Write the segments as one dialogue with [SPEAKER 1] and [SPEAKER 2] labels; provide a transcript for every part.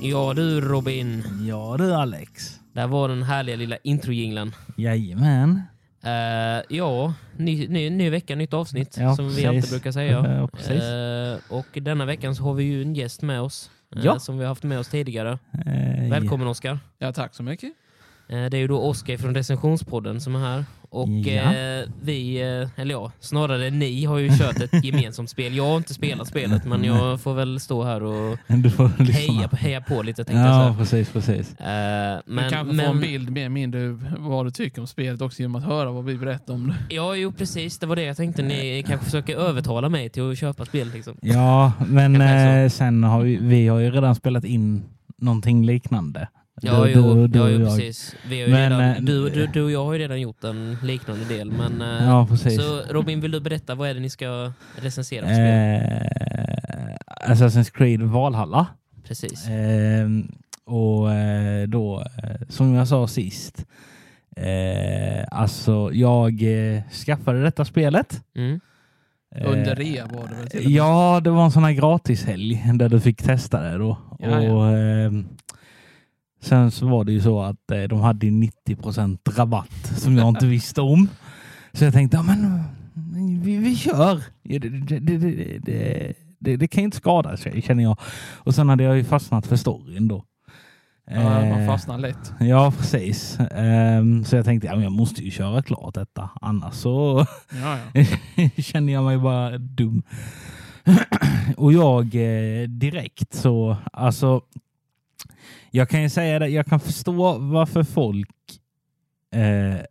[SPEAKER 1] Ja du Robin,
[SPEAKER 2] Ja du Alex.
[SPEAKER 1] där var den härliga lilla introjinglen.
[SPEAKER 2] Jajamän.
[SPEAKER 1] Eh, ja, ny, ny, ny vecka, nytt avsnitt
[SPEAKER 2] Ja,
[SPEAKER 1] som
[SPEAKER 2] precis.
[SPEAKER 1] vi alltid brukar säga.
[SPEAKER 2] Ja, precis.
[SPEAKER 1] Eh, och denna veckan så har vi ju en gäst med oss eh,
[SPEAKER 2] Ja.
[SPEAKER 1] som vi har haft med oss tidigare.
[SPEAKER 2] Eh,
[SPEAKER 1] Välkommen Oskar!
[SPEAKER 3] Ja, tack så mycket.
[SPEAKER 1] Eh, det är ju då Oskar från Recensionspodden som är här. Och
[SPEAKER 2] Ja.
[SPEAKER 1] eh, vi, eh, eller ja, snarare ni har ju kört ett gemensamt spel. Jag har inte spelat spelet men jag får väl stå här och
[SPEAKER 2] ja. Du får lyssna.
[SPEAKER 1] heja, på- heja på lite tänkte jag säga.
[SPEAKER 2] Ja, precis, precis.
[SPEAKER 1] Eh,
[SPEAKER 3] Men, du
[SPEAKER 1] men,
[SPEAKER 3] kanske får en
[SPEAKER 1] men,
[SPEAKER 3] bild mer eller mindre vad du tycker om spelet också genom att höra vad vi berättar om det.
[SPEAKER 1] Ja, jo precis. Det var det jag tänkte. Ni kanske försöker övertala mig till att köpa spel. Liksom.
[SPEAKER 2] Ja, men
[SPEAKER 1] Kanske är
[SPEAKER 2] eh, sen har vi, vi har ju redan spelat in någonting liknande.
[SPEAKER 1] Ja,
[SPEAKER 2] Du-
[SPEAKER 1] jo,
[SPEAKER 2] du- du
[SPEAKER 1] ja,
[SPEAKER 2] och
[SPEAKER 1] jo
[SPEAKER 2] jag.
[SPEAKER 1] precis. Vi har ju
[SPEAKER 2] Men, eh,
[SPEAKER 1] redan, du, du, du och jag har ju redan gjort en liknande del. Men, eh,
[SPEAKER 2] Ja, precis.
[SPEAKER 1] Så Robin, vill du berätta vad är det ni ska recensera för spel?
[SPEAKER 2] Eh, Assassin's Creed Valhalla.
[SPEAKER 1] Precis.
[SPEAKER 2] Ehm, och eh, då, eh, som jag sa sist, eh, alltså jag eh, skaffade detta spelet.
[SPEAKER 1] Mm.
[SPEAKER 2] Eh,
[SPEAKER 3] Under rea var det väl till och med.
[SPEAKER 2] Ja, det var en sån här gratishelg där du fick testa det då.
[SPEAKER 3] Ja, ja.
[SPEAKER 2] Och, ehm, sen så var det ju så att eh, de hade ju 90 rabatt som jag inte visste om. Så jag tänkte, ja men vi, vi kör. Ja, Det, det, det, det, det, det, det kan ju inte skada sig känner jag. Och sen hade jag ju fastnat för storyn då.
[SPEAKER 3] Ja, man
[SPEAKER 2] Eh,
[SPEAKER 3] fastnar lätt.
[SPEAKER 2] Ja, precis. Ehm, så jag tänkte, ja, men jag måste ju köra klart detta. Annars så
[SPEAKER 3] Ja, ja.
[SPEAKER 2] känner jag mig bara dum. och jag eh, direkt så, alltså. Jag kan ju säga det, jag kan förstå varför folk eh,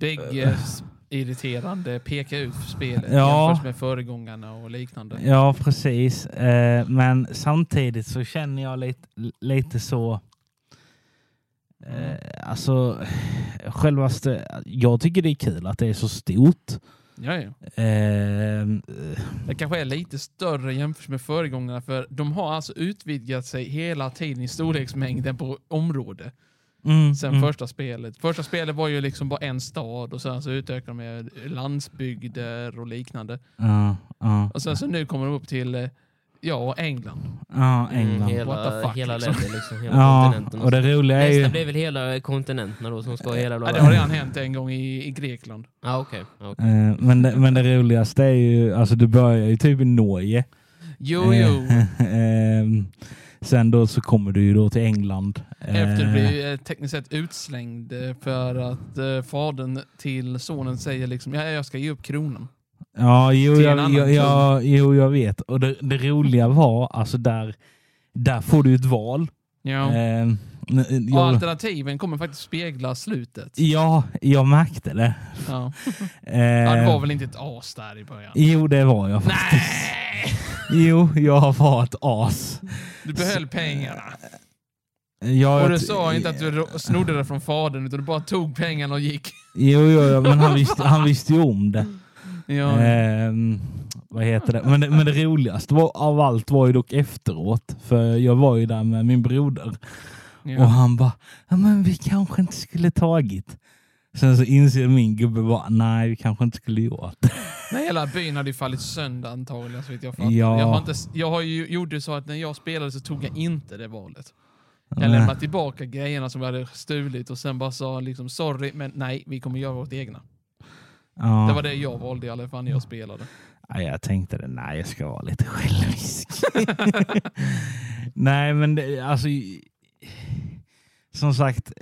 [SPEAKER 3] Bägge eh, s- irriterande, peka ut spelet
[SPEAKER 2] Ja.
[SPEAKER 3] jämfört med föregångarna och liknande.
[SPEAKER 2] Ja, precis. Eh, men samtidigt så känner jag lite, lite så... Eh, alltså, självaste... Jag tycker det är kul att det är så stort.
[SPEAKER 3] Ja, ja.
[SPEAKER 2] Eh,
[SPEAKER 3] Det kanske är lite större jämfört med föregångarna för de har alltså utvidgat sig hela tiden i storleksmängden på område
[SPEAKER 2] mm,
[SPEAKER 3] sen
[SPEAKER 2] mm.
[SPEAKER 3] första spelet. Första spelet var ju liksom bara en stad och sen så utökade de med landsbygder och liknande.
[SPEAKER 2] mm, Ja, ja.
[SPEAKER 3] Och sen så nu kommer de upp till eh, ja, England.
[SPEAKER 2] Ja, England.
[SPEAKER 1] Mm,
[SPEAKER 3] What the
[SPEAKER 1] hela
[SPEAKER 3] fuck,
[SPEAKER 1] hela
[SPEAKER 3] liksom.
[SPEAKER 1] länder, liksom. Hela
[SPEAKER 2] Ja,
[SPEAKER 1] kontinenten.
[SPEAKER 2] och det roliga är
[SPEAKER 1] Nästa
[SPEAKER 2] ju... Eh,
[SPEAKER 1] blir väl hela kontinenten då, som ska ha hela...
[SPEAKER 3] Ja, det har redan hänt en gång i, i Grekland.
[SPEAKER 1] Ah, okej. Ja, okej.
[SPEAKER 2] Eh, men, det, men det roligaste är ju, alltså du börjar ju typ i Norge.
[SPEAKER 3] Jo, jo.
[SPEAKER 2] Eh. Ehm, sen då så kommer du ju då till England.
[SPEAKER 3] Efter
[SPEAKER 2] Eh,
[SPEAKER 3] blir eh, tekniskt sett utslängd eh, för att eh, fadern till sonen säger liksom ja, jag ska ge upp kronan.
[SPEAKER 2] Ja, jo,
[SPEAKER 3] till en
[SPEAKER 2] jag,
[SPEAKER 3] annan
[SPEAKER 2] jag, jag, jo, jag vet. Och det, det roliga var, alltså där, där får du ett val.
[SPEAKER 3] Ja.
[SPEAKER 2] Ehm, n- n-
[SPEAKER 3] Och
[SPEAKER 2] jag,
[SPEAKER 3] alternativen kommer faktiskt spegla slutet.
[SPEAKER 2] ja, jag märkte det.
[SPEAKER 3] Ja.
[SPEAKER 2] Ehm,
[SPEAKER 3] Ja, det var väl inte ett as där i början?
[SPEAKER 2] Jo, det var jag faktiskt.
[SPEAKER 3] Nej!
[SPEAKER 2] Jo, jag var ett as.
[SPEAKER 3] Du behöll pengarna.
[SPEAKER 2] Jag,
[SPEAKER 3] Och du sa inte att du ro- snodde det från fadern utan du bara tog pengarna och gick.
[SPEAKER 2] Jo, jo, jo men han visste, han visste ju om det.
[SPEAKER 3] Ja.
[SPEAKER 2] Ehm, vad heter det? Men, det- men det roligaste var, av allt var ju dock efteråt. För jag var ju där med min broder. Och
[SPEAKER 3] Ja.
[SPEAKER 2] han bara, ja, men vi kanske inte skulle tagit. Sen så inser min gubbe bara, nej vi kanske inte skulle gjort det.
[SPEAKER 3] Nej, hela byn hade ju fallit sönder antagligen så vitt jag fattar.
[SPEAKER 2] Ja.
[SPEAKER 3] Jag, har inte, s- jag har ju, gjorde så att när jag spelade så tog jag inte det valet. Jag lämnade tillbaka grejerna som vi hade stulit och sen bara sa liksom sorry, men nej, vi kommer göra vårt egna.
[SPEAKER 2] ja.
[SPEAKER 3] Det var det jag valde i alla fall när jag spelade.
[SPEAKER 2] Ja, jag tänkte det, nej jag ska vara lite självisk. nej men det, alltså, som sagt,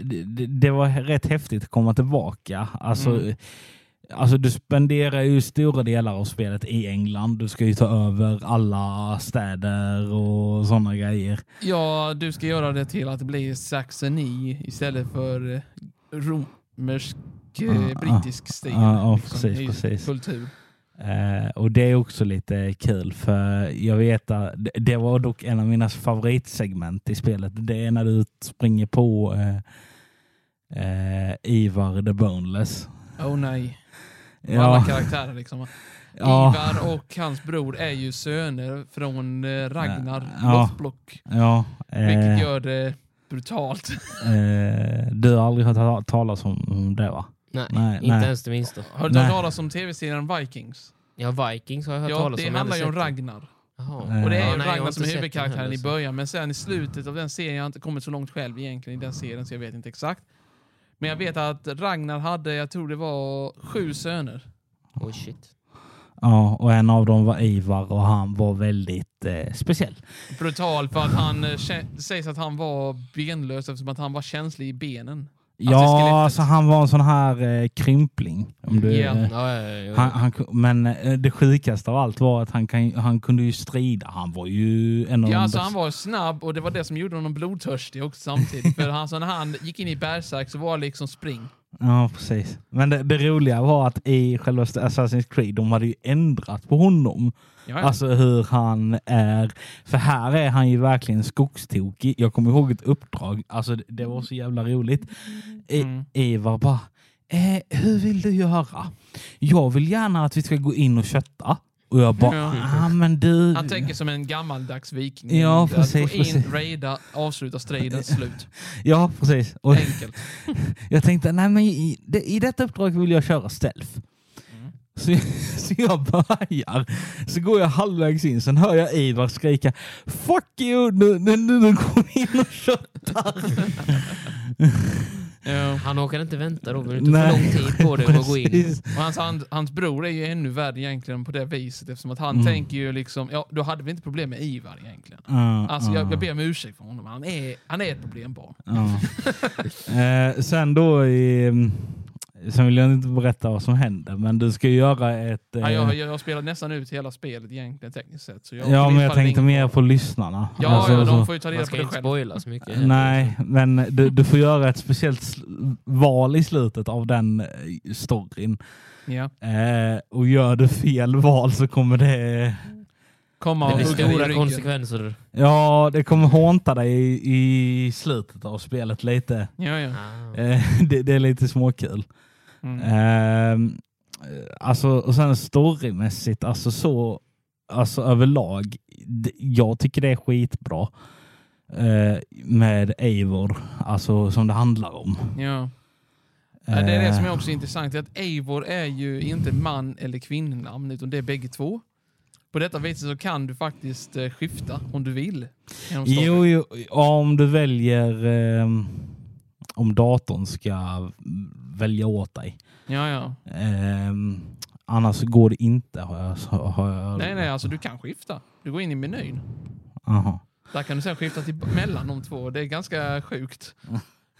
[SPEAKER 2] det, det- det var rätt häftigt att komma tillbaka. Alltså,
[SPEAKER 3] Mm.
[SPEAKER 2] alltså du spenderar ju stora delar av spelet i England. Du ska ju ta över alla städer och sådana grejer.
[SPEAKER 3] Ja, du ska göra det till att det blir Saxony istället för eh, romersk, eh,
[SPEAKER 2] Ah, ah,
[SPEAKER 3] brittisk stil. liksom.
[SPEAKER 2] ah, ja, precis,
[SPEAKER 3] i
[SPEAKER 2] precis.
[SPEAKER 3] Kultur.
[SPEAKER 2] Eh, och det är också lite kul för jag vet att det- det var dock en av mina favoritsegment i spelet. Det är när du springer på eh, eh, Ivar the Boneless.
[SPEAKER 3] Oh nej. Och Alla
[SPEAKER 2] Ja,
[SPEAKER 3] karaktärer liksom.
[SPEAKER 2] ja,
[SPEAKER 3] Ivar och hans bror är ju söner från eh, Ragnar
[SPEAKER 2] Ja.
[SPEAKER 3] Lothblock.
[SPEAKER 2] ja.
[SPEAKER 3] Vilket
[SPEAKER 2] Eh,
[SPEAKER 3] gör det brutalt.
[SPEAKER 2] eh, du har aldrig hört ta- talas om om det va?
[SPEAKER 1] Nej,
[SPEAKER 2] Nej,
[SPEAKER 1] inte
[SPEAKER 2] nej.
[SPEAKER 1] ens det minsta.
[SPEAKER 3] Har du hört
[SPEAKER 2] Nej.
[SPEAKER 3] talas om tv-serien Vikings?
[SPEAKER 1] Ja, Vikings har jag hört
[SPEAKER 3] Ja,
[SPEAKER 1] talas om.
[SPEAKER 3] det
[SPEAKER 1] men jag har
[SPEAKER 3] handlar ju om
[SPEAKER 1] aldrig sett
[SPEAKER 3] Ragnar.
[SPEAKER 1] Jaha.
[SPEAKER 2] Eh,
[SPEAKER 3] Och det är
[SPEAKER 1] Ja, nej, jag
[SPEAKER 3] ju
[SPEAKER 1] har
[SPEAKER 3] Ragnar
[SPEAKER 1] inte
[SPEAKER 3] som är
[SPEAKER 1] sett den
[SPEAKER 3] huvudkaraktären
[SPEAKER 1] heller,
[SPEAKER 3] i
[SPEAKER 1] så-
[SPEAKER 3] början, men sen i slutet av den serien, jag har inte kommit så långt själv egentligen i den serien, så jag vet inte exakt. Men jag vet att Ragnar hade, jag tror det var sju söner.
[SPEAKER 1] Oj shit.
[SPEAKER 2] Ja, och en av dem var Ivar och han var väldigt eh, speciell.
[SPEAKER 3] Brutal för att han, eh, kä- det sägs att han var benlös eftersom att han var känslig i benen. i
[SPEAKER 2] ja,
[SPEAKER 3] skelettet.
[SPEAKER 2] alltså han var en sån här eh, krympling. Om du,
[SPEAKER 3] Ja.
[SPEAKER 2] eh,
[SPEAKER 1] Ja, ja, ja, ja.
[SPEAKER 2] han, han, ku- men eh, det sjukaste av allt var att han, kan, han kunde ju strida. Han var ju en av
[SPEAKER 3] Ja,
[SPEAKER 2] de
[SPEAKER 3] alltså
[SPEAKER 2] bästa.
[SPEAKER 3] han var snabb och det var det som gjorde honom blodtörstig också samtidigt. För han, så när han gick in i bärsärk så var det liksom spring.
[SPEAKER 2] Ja, precis. Men det, det roliga var att i själva Assassin's Creed, de hade ju ändrat på honom.
[SPEAKER 3] Ja, ja.
[SPEAKER 2] Alltså hur han är. För här är han ju verkligen skogstokig. Jag kommer ihåg ett uppdrag. Alltså det, det var så jävla roligt. I,
[SPEAKER 3] Mm.
[SPEAKER 2] Ivar bara, eh, hur vill du göra? Jag vill gärna att vi ska gå in och kötta. Och jag bara,
[SPEAKER 3] Ja.
[SPEAKER 2] ah, men du.
[SPEAKER 3] Han tänker som en gammaldags viking.
[SPEAKER 2] Ja,
[SPEAKER 3] Att
[SPEAKER 2] precis,
[SPEAKER 3] Gå in,
[SPEAKER 2] precis.
[SPEAKER 3] raida, avsluta striden, slut.
[SPEAKER 2] Ja, precis. Och
[SPEAKER 3] Enkelt.
[SPEAKER 2] jag tänkte, nej men i, det, i detta uppdrag vill jag köra stealth.
[SPEAKER 3] Mm.
[SPEAKER 2] Så, så jag börjar, så går jag halvvägs in, sen hör jag Ivar skrika Fuck you! Nu, nu, nu, nu går vi in och köttar!
[SPEAKER 3] Ja.
[SPEAKER 1] Han orkade inte vänta då, men det tog för
[SPEAKER 2] Nej.
[SPEAKER 1] lång tid på det att gå in.
[SPEAKER 2] Precis.
[SPEAKER 3] Och hans, han, hans bror är ju ännu värre egentligen på det viset eftersom att han
[SPEAKER 2] Mm.
[SPEAKER 3] tänker ju liksom, ja då hade vi inte problem med Ivar egentligen.
[SPEAKER 2] Ja,
[SPEAKER 3] Alltså jag,
[SPEAKER 2] ja,
[SPEAKER 3] jag ber om ursäkt för honom, han är, han är ett problembarn.
[SPEAKER 2] ja. eh, sen då i... Sen vill jag inte berätta vad som händer, men du ska ju göra ett... Eh,
[SPEAKER 3] Ja, jag, jag, jag spelar nästan ut hela spelet egentligen tekniskt sett. Så jag,
[SPEAKER 2] ja, men
[SPEAKER 3] ifall
[SPEAKER 2] jag
[SPEAKER 3] det
[SPEAKER 2] tänkte
[SPEAKER 3] ingen-
[SPEAKER 2] mer på lyssnarna.
[SPEAKER 3] Ja,
[SPEAKER 2] Alltså,
[SPEAKER 3] ja, de
[SPEAKER 2] så-
[SPEAKER 3] får ju ta reda
[SPEAKER 1] Man
[SPEAKER 3] på
[SPEAKER 1] ska ju
[SPEAKER 3] det liksom.
[SPEAKER 1] inte
[SPEAKER 3] själv.
[SPEAKER 1] spoila så mycket. heller.
[SPEAKER 2] Nej, men du, du får göra ett speciellt sl- val i slutet av den eh, storyn.
[SPEAKER 3] Ja.
[SPEAKER 2] Eh, och gör du fel val så kommer det...
[SPEAKER 3] Komma
[SPEAKER 1] Det
[SPEAKER 3] och
[SPEAKER 1] blir
[SPEAKER 3] hugga dig i
[SPEAKER 1] stora
[SPEAKER 3] ryggen.
[SPEAKER 1] konsekvenser.
[SPEAKER 2] Ja, det kommer hånta dig i, i slutet av spelet lite.
[SPEAKER 3] Ja, ja.
[SPEAKER 1] Ah.
[SPEAKER 2] Eh, det, det är lite småkul.
[SPEAKER 3] Mm.
[SPEAKER 2] Ehm, Eh, alltså, och sen storymässigt, alltså så, alltså överlag, d- jag tycker det är skitbra eh, med Eivor, alltså som det handlar om.
[SPEAKER 3] ja. Ja, Det är det
[SPEAKER 2] Eh,
[SPEAKER 3] som är också intressant, det är att Eivor är ju inte man eller kvinnonamn, utan det är bägge två. På detta viset så kan du faktiskt eh, skifta om du vill. genom storyn.
[SPEAKER 2] Jo, jo ja, om du väljer ehm, om datorn ska välja åt dig.
[SPEAKER 3] Ja, ja.
[SPEAKER 2] Ehm, annars går det inte har jag... Har jag
[SPEAKER 3] Nej, nej, alltså du kan skifta. Du går in i menyn.
[SPEAKER 2] Aha.
[SPEAKER 3] Där kan du sen skifta till mellan de två. Det är ganska sjukt.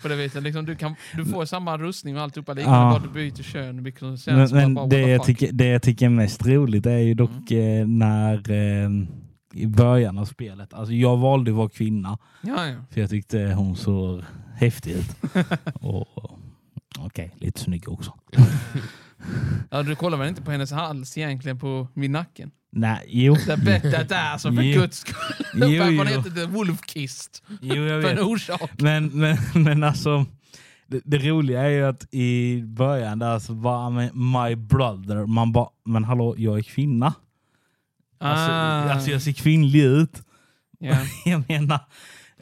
[SPEAKER 3] På det viset, liksom, du, kan, du får samma rustning och alltihopa liknande,
[SPEAKER 2] Ja.
[SPEAKER 3] bara du byter kön. vilket känns
[SPEAKER 2] Men,
[SPEAKER 3] som
[SPEAKER 2] men
[SPEAKER 3] bara,
[SPEAKER 2] det,
[SPEAKER 3] what the
[SPEAKER 2] jag
[SPEAKER 3] fuck. Mm.
[SPEAKER 2] tycker, det jag tycker är mest roligt är ju dock eh, när eh, i början av spelet, alltså jag valde att vara kvinna
[SPEAKER 3] Ja, ja.
[SPEAKER 2] för jag tyckte hon såg häftig ut. och Okej, lite snygg också.
[SPEAKER 3] ja, du kollar väl inte på hennes hals egentligen, på vid nacken?
[SPEAKER 2] Nej, jo.
[SPEAKER 3] The bet that ass, för
[SPEAKER 2] Jo.
[SPEAKER 3] guds skull.
[SPEAKER 2] Jo,
[SPEAKER 3] Hon
[SPEAKER 2] jo.
[SPEAKER 3] heter The Wolfkist.
[SPEAKER 2] jo, jag
[SPEAKER 3] För
[SPEAKER 2] vet.
[SPEAKER 3] en orsak.
[SPEAKER 2] Men, men, men alltså, det, det roliga är ju att i början där så var man my brother. Man bara, men hallå, jag är kvinna. Alltså,
[SPEAKER 3] Ah.
[SPEAKER 2] alltså jag ser kvinnlig ut.
[SPEAKER 3] ja.
[SPEAKER 2] Jag menar,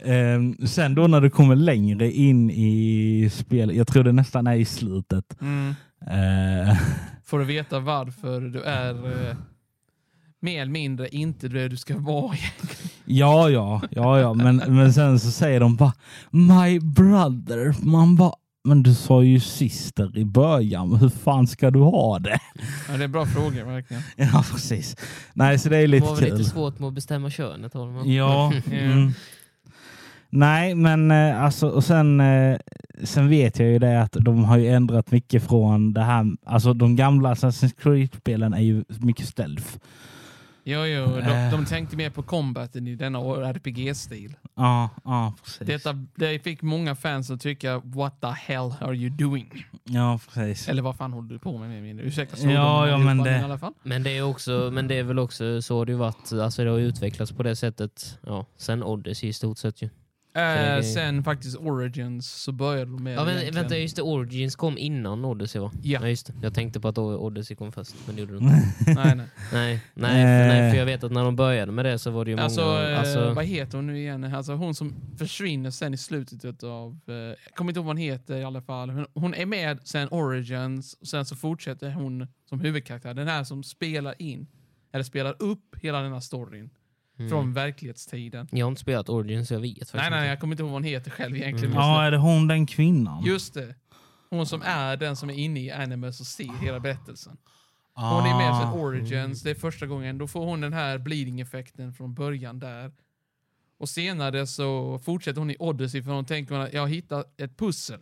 [SPEAKER 2] ehm, sen då när du kommer längre in i spelet, jag tror det nästan är i slutet.
[SPEAKER 3] mm.
[SPEAKER 2] Eh,
[SPEAKER 3] Får du veta varför du är eh, mer eller mindre inte det du ska vara.
[SPEAKER 2] ja, ja, ja, ja, men, men sen så säger de bara My brother. Man bara, men du sa ju syster i början. Hur fan ska du ha det?
[SPEAKER 3] Ja, det är bra frågor verkligen.
[SPEAKER 2] Ja, precis. Nej, så det är lite
[SPEAKER 1] var väl
[SPEAKER 2] kul.
[SPEAKER 1] lite svårt med att bestämma könet. håller man.
[SPEAKER 2] Ja.
[SPEAKER 3] Ja.
[SPEAKER 2] Mm. Nej, men eh, alltså, och sen, eh, sen vet jag ju det att de har ju ändrat mycket från det här. Alltså de gamla Assassin's Creed-spelen är ju mycket stealth.
[SPEAKER 3] Jo, jo, de,
[SPEAKER 2] Eh.
[SPEAKER 3] de tänkte mer på combaten i denna RPG-stil.
[SPEAKER 2] Ja, ja precis.
[SPEAKER 3] Detta det fick många fans att tycka “What the hell are you doing?”
[SPEAKER 2] Ja, precis.
[SPEAKER 3] Eller vad fan håller du på med? med min? Ursäkta svordomen
[SPEAKER 2] Ja, ja, men
[SPEAKER 3] allihopa,
[SPEAKER 2] det-
[SPEAKER 3] i alla fall.
[SPEAKER 1] Men det är också, men det är väl också så det har ju varit. Alltså det har ju utvecklats på det sättet. Ja, sen Odyssey i stort sett ju.
[SPEAKER 3] Eh,
[SPEAKER 1] det-
[SPEAKER 3] sen faktiskt Origins så började de med
[SPEAKER 1] Ja men
[SPEAKER 3] egentligen-
[SPEAKER 1] vänta, just det. Origins kom innan Odyssey va?
[SPEAKER 3] Ja.
[SPEAKER 1] Nej, just det. Jag tänkte på att O- Odyssey kom först, men det gjorde det inte.
[SPEAKER 3] nej, nej.
[SPEAKER 1] nej, nej, för, nej,
[SPEAKER 2] Eh.
[SPEAKER 1] för jag vet att när de började med det så var det ju många...
[SPEAKER 3] Alltså, eh,
[SPEAKER 1] alltså,
[SPEAKER 3] vad heter hon nu igen? Alltså, hon som försvinner sen i slutet av... Eh, jag kommer inte ihåg vad hon heter i alla fall. Hon, hon är med sen Origins, och sen så fortsätter hon som huvudkaraktär. Den här som spelar in, eller spelar upp hela den här storyn.
[SPEAKER 1] Mm.
[SPEAKER 3] från verklighetstiden.
[SPEAKER 1] Jag har inte spelat Origin så jag vet faktiskt
[SPEAKER 3] Nej, nej,
[SPEAKER 1] inte.
[SPEAKER 3] jag kommer inte ihåg vad hon heter själv egentligen.
[SPEAKER 1] Mm.
[SPEAKER 3] just nu.
[SPEAKER 2] Ja, är det hon den kvinnan?
[SPEAKER 3] Just det. Hon som är den som är inne i Animus och ser hela berättelsen. Hon är
[SPEAKER 2] Ah,
[SPEAKER 3] med
[SPEAKER 1] Ah,
[SPEAKER 3] sen Origins, det
[SPEAKER 1] mm.
[SPEAKER 3] är första gången. Då får hon den här bleeding-effekten från början där. Och senare så fortsätter hon i Odyssey för hon tänker att jag har hittat ett pussel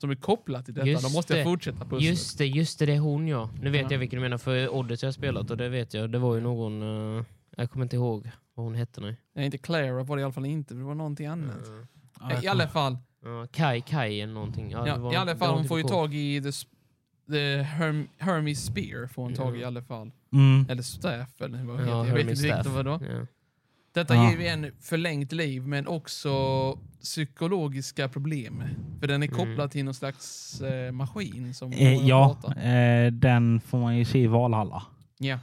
[SPEAKER 3] som är kopplat till detta.
[SPEAKER 1] Just
[SPEAKER 3] Då måste
[SPEAKER 1] det.
[SPEAKER 3] jag fortsätta pusslet.
[SPEAKER 1] Just det, just det, det är hon ja. Nu vet
[SPEAKER 3] Ja.
[SPEAKER 1] jag vilken du menar för Odyssey har jag spelat och det vet jag. Det var ju någon, eh, jag kommer inte ihåg vad hon hette nu. Eh,
[SPEAKER 3] Nej, inte Clara var det i alla fall inte, för det var någonting annat.
[SPEAKER 2] Ja, jag
[SPEAKER 3] I alla fall,
[SPEAKER 1] Ja, Kai, Kai eller någonting. Ja, det
[SPEAKER 3] ja,
[SPEAKER 1] var-
[SPEAKER 3] i alla
[SPEAKER 1] det var
[SPEAKER 3] fall hon
[SPEAKER 1] inte
[SPEAKER 3] får ju
[SPEAKER 1] på.
[SPEAKER 3] tag i the, sp- the Herm, Hermes Spear. Får hon tag i,
[SPEAKER 1] Ja.
[SPEAKER 3] i alla fall.
[SPEAKER 2] Mm.
[SPEAKER 3] Eller Staff eller vad
[SPEAKER 1] Ja,
[SPEAKER 3] heter. det? Jag vet
[SPEAKER 1] Hermes
[SPEAKER 3] inte riktigt
[SPEAKER 1] staff.
[SPEAKER 3] vad det var.
[SPEAKER 1] Ja.
[SPEAKER 3] Detta
[SPEAKER 2] Ja.
[SPEAKER 3] ger ju en förlängt liv men också psykologiska problem. För den är kopplad
[SPEAKER 1] Mm.
[SPEAKER 3] till någon slags eh, maskin som
[SPEAKER 2] Eh, ja,
[SPEAKER 3] pratar.
[SPEAKER 2] eh, den får man ju se i Valhalla.
[SPEAKER 3] Ja.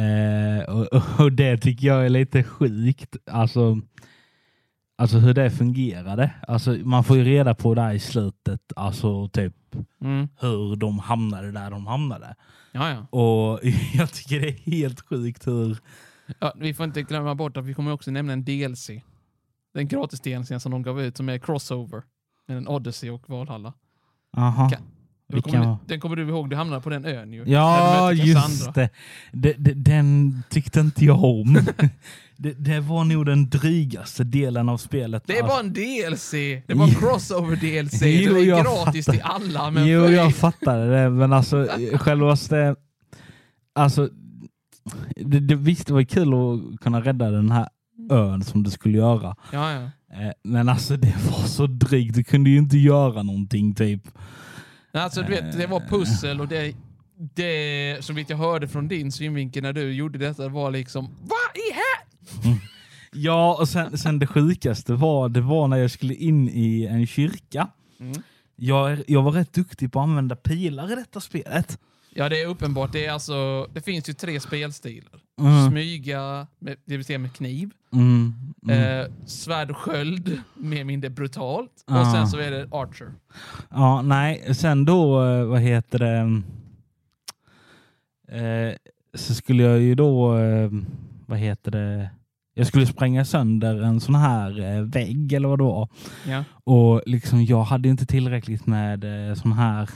[SPEAKER 2] Eh, och, och det tycker jag är lite sjukt. Alltså, alltså hur det fungerade. Alltså, man får ju reda på där i slutet, alltså typ
[SPEAKER 3] Mm.
[SPEAKER 2] hur de hamnade där de hamnade.
[SPEAKER 3] Ja, ja.
[SPEAKER 2] Och jag tycker det är helt sjukt hur...
[SPEAKER 3] ja. Vi får inte glömma bort att vi kommer också nämna en DLC. Den gratis DLC som de gav ut som är Crossover. Mellan Odyssey och Valhalla.
[SPEAKER 2] Aha.
[SPEAKER 3] Ka- Den
[SPEAKER 2] Vilken
[SPEAKER 3] kommer,
[SPEAKER 2] var-
[SPEAKER 3] den kommer du ihåg, du hamnar på den ön ju.
[SPEAKER 2] Ja,
[SPEAKER 3] När du möter
[SPEAKER 2] just
[SPEAKER 3] Cassandra.
[SPEAKER 2] det. De- de- Den tyckte inte jag om. det, det var nog den drygaste delen av spelet.
[SPEAKER 3] Det är
[SPEAKER 2] Alltså-
[SPEAKER 3] bara en DLC! Det var en
[SPEAKER 2] Jo.
[SPEAKER 3] crossover DLC.
[SPEAKER 2] Jo,
[SPEAKER 3] det är
[SPEAKER 2] jag
[SPEAKER 3] gratis
[SPEAKER 2] fattar.
[SPEAKER 3] till alla. Men
[SPEAKER 2] jo,
[SPEAKER 3] för-
[SPEAKER 2] jag fattade det, men alltså självaste... Alltså, det, det, visst, det var kul att kunna rädda den här ön som du skulle göra.
[SPEAKER 3] ja, ja.
[SPEAKER 2] Eh, Men alltså det var så drygt, du kunde ju inte göra någonting typ.
[SPEAKER 3] Nej, Alltså du vet, det var
[SPEAKER 2] Eh.
[SPEAKER 3] pussel och det, det som vet jag hörde från din synvinkel när du gjorde detta var liksom Vad i här?
[SPEAKER 2] Ja, och sen, sen det sjukaste var, det var när jag skulle in i en kyrka.
[SPEAKER 3] Mm.
[SPEAKER 2] Jag, är- jag var rätt duktig på att använda pilar i detta spelet.
[SPEAKER 3] Ja, det är uppenbart. Det, är alltså, det finns ju tre spelstilar.
[SPEAKER 2] Mm.
[SPEAKER 3] Smyga, med, det vill säga med kniv.
[SPEAKER 2] Mm. Mm.
[SPEAKER 3] Eh, svärd och sköld, mer eller mindre brutalt. Och
[SPEAKER 2] Ah.
[SPEAKER 3] sen så är det Archer.
[SPEAKER 2] Ja, nej. Sen då, eh, vad heter det? Eh, så skulle jag ju då, eh, vad heter det? Jag skulle spränga sönder en sån här eh, vägg eller vad det var.
[SPEAKER 3] Ja.
[SPEAKER 2] Och liksom, jag hade ju inte tillräckligt med eh, sån här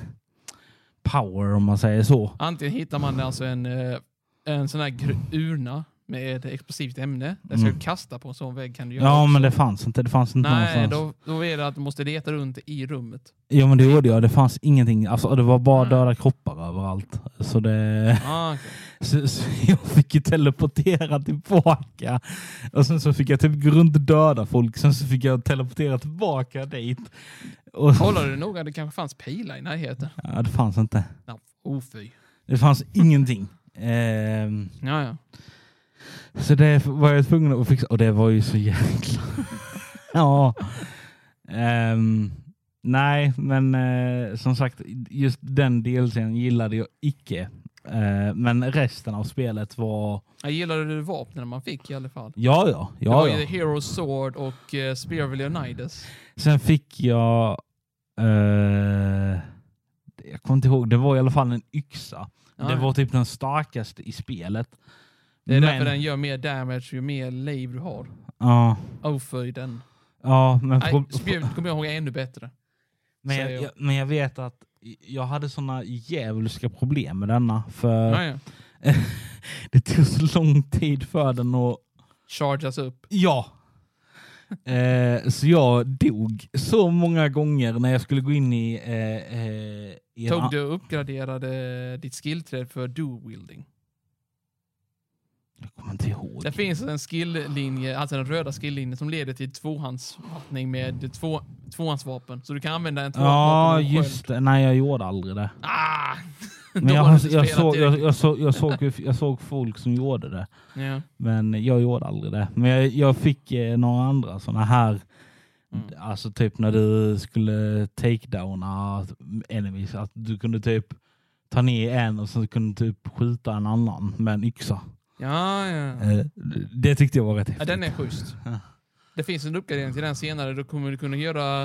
[SPEAKER 2] power om man säger så.
[SPEAKER 3] Antingen hittar man alltså en, eh, en sån här gr- urna med ett explosivt ämne. Den ska
[SPEAKER 2] Mm.
[SPEAKER 3] du kasta på en sån vägg kan du göra.
[SPEAKER 2] Ja,
[SPEAKER 3] också.
[SPEAKER 2] men det fanns inte. Det fanns inte
[SPEAKER 3] Nej,
[SPEAKER 2] någonstans.
[SPEAKER 3] då, då är det att du måste leta runt i rummet.
[SPEAKER 2] Ja, men det gjorde jag. Det fanns ingenting. Alltså, det var bara
[SPEAKER 3] Nej.
[SPEAKER 2] döda kroppar överallt. Så det...
[SPEAKER 3] Ah, okej.
[SPEAKER 2] Så, så jag fick ju teleportera tillbaka. Och sen så fick jag typ gå runt och döda folk. Sen så fick jag teleportera tillbaka dit. Och,
[SPEAKER 3] Kollade du noga? Det kanske fanns pilar i närheten?
[SPEAKER 2] ja, det fanns inte.
[SPEAKER 3] Ja, oh fy.
[SPEAKER 2] Det fanns ingenting. Ehm,
[SPEAKER 3] Ja, ja.
[SPEAKER 2] så det var jag tvungen att fixa. Och det var ju så jäkla... ja. Ehm, nej, men eh, som sagt, just den delsen gillade jag icke. Eh, men resten av spelet var...
[SPEAKER 3] Jag gillade du vapnen man fick i alla fall?
[SPEAKER 2] Ja, ja.
[SPEAKER 3] det var
[SPEAKER 2] ja, ja.
[SPEAKER 3] ju Hero Sword och eh, Spear of Leonidas.
[SPEAKER 2] Sen fick jag... eh, jag kommer inte ihåg. Det var i alla fall en yxa.
[SPEAKER 3] Ja,
[SPEAKER 2] det
[SPEAKER 3] ja.
[SPEAKER 2] var typ den starkaste i spelet.
[SPEAKER 3] det är
[SPEAKER 2] men,
[SPEAKER 3] därför den gör mer damage ju mer liv du har.
[SPEAKER 2] Ja,
[SPEAKER 3] Oh fy den.
[SPEAKER 2] ja men,
[SPEAKER 3] Nej,
[SPEAKER 2] pro-
[SPEAKER 3] Spear kommer jag ihåg är ännu bättre.
[SPEAKER 2] men, jag,
[SPEAKER 3] säger jag.
[SPEAKER 2] jag, men jag vet att jag hade såna djävulska problem med denna. För
[SPEAKER 3] Ja, ja.
[SPEAKER 2] det tog så lång tid för den att...
[SPEAKER 3] Chargas upp.
[SPEAKER 2] Ja! Eh, så jag dog så många gånger när jag skulle gå in i... Eh, eh, i en an-
[SPEAKER 3] Tog du och uppgraderade ditt skillträd för do-wielding?
[SPEAKER 2] Jag kommer inte ihåg.
[SPEAKER 3] Det finns en skilllinje, alltså den röda skilllinjen som leder till tvåhandsfattning med två, tvåhandsvapen. Så du kan använda en tvåhandsvapen
[SPEAKER 2] Ja,
[SPEAKER 3] och en sköld.
[SPEAKER 2] just det. Nej, jag gjorde aldrig det.
[SPEAKER 3] Ah! Då
[SPEAKER 2] Men jag,
[SPEAKER 3] har du
[SPEAKER 2] jag,
[SPEAKER 3] inte
[SPEAKER 2] jag,
[SPEAKER 3] spelat
[SPEAKER 2] såg,
[SPEAKER 3] direkt.
[SPEAKER 2] jag, jag, såg, jag, såg, ju- jag såg folk som gjorde det,
[SPEAKER 3] Ja.
[SPEAKER 2] men jag gjorde aldrig det. Men jag, jag fick eh, några andra sådana här,
[SPEAKER 3] Mm.
[SPEAKER 2] alltså typ när du skulle take-downa enemies, att du kunde typ ta ner en och sen kunde du typ skjuta en annan med en yxa.
[SPEAKER 3] Ja, ja.
[SPEAKER 2] Eh, Det tyckte jag var rätt
[SPEAKER 3] ja.
[SPEAKER 2] häftigt.
[SPEAKER 3] Den är schysst.
[SPEAKER 2] Ja.
[SPEAKER 3] Det finns en uppgradering till den senare. Då kommer du kunna göra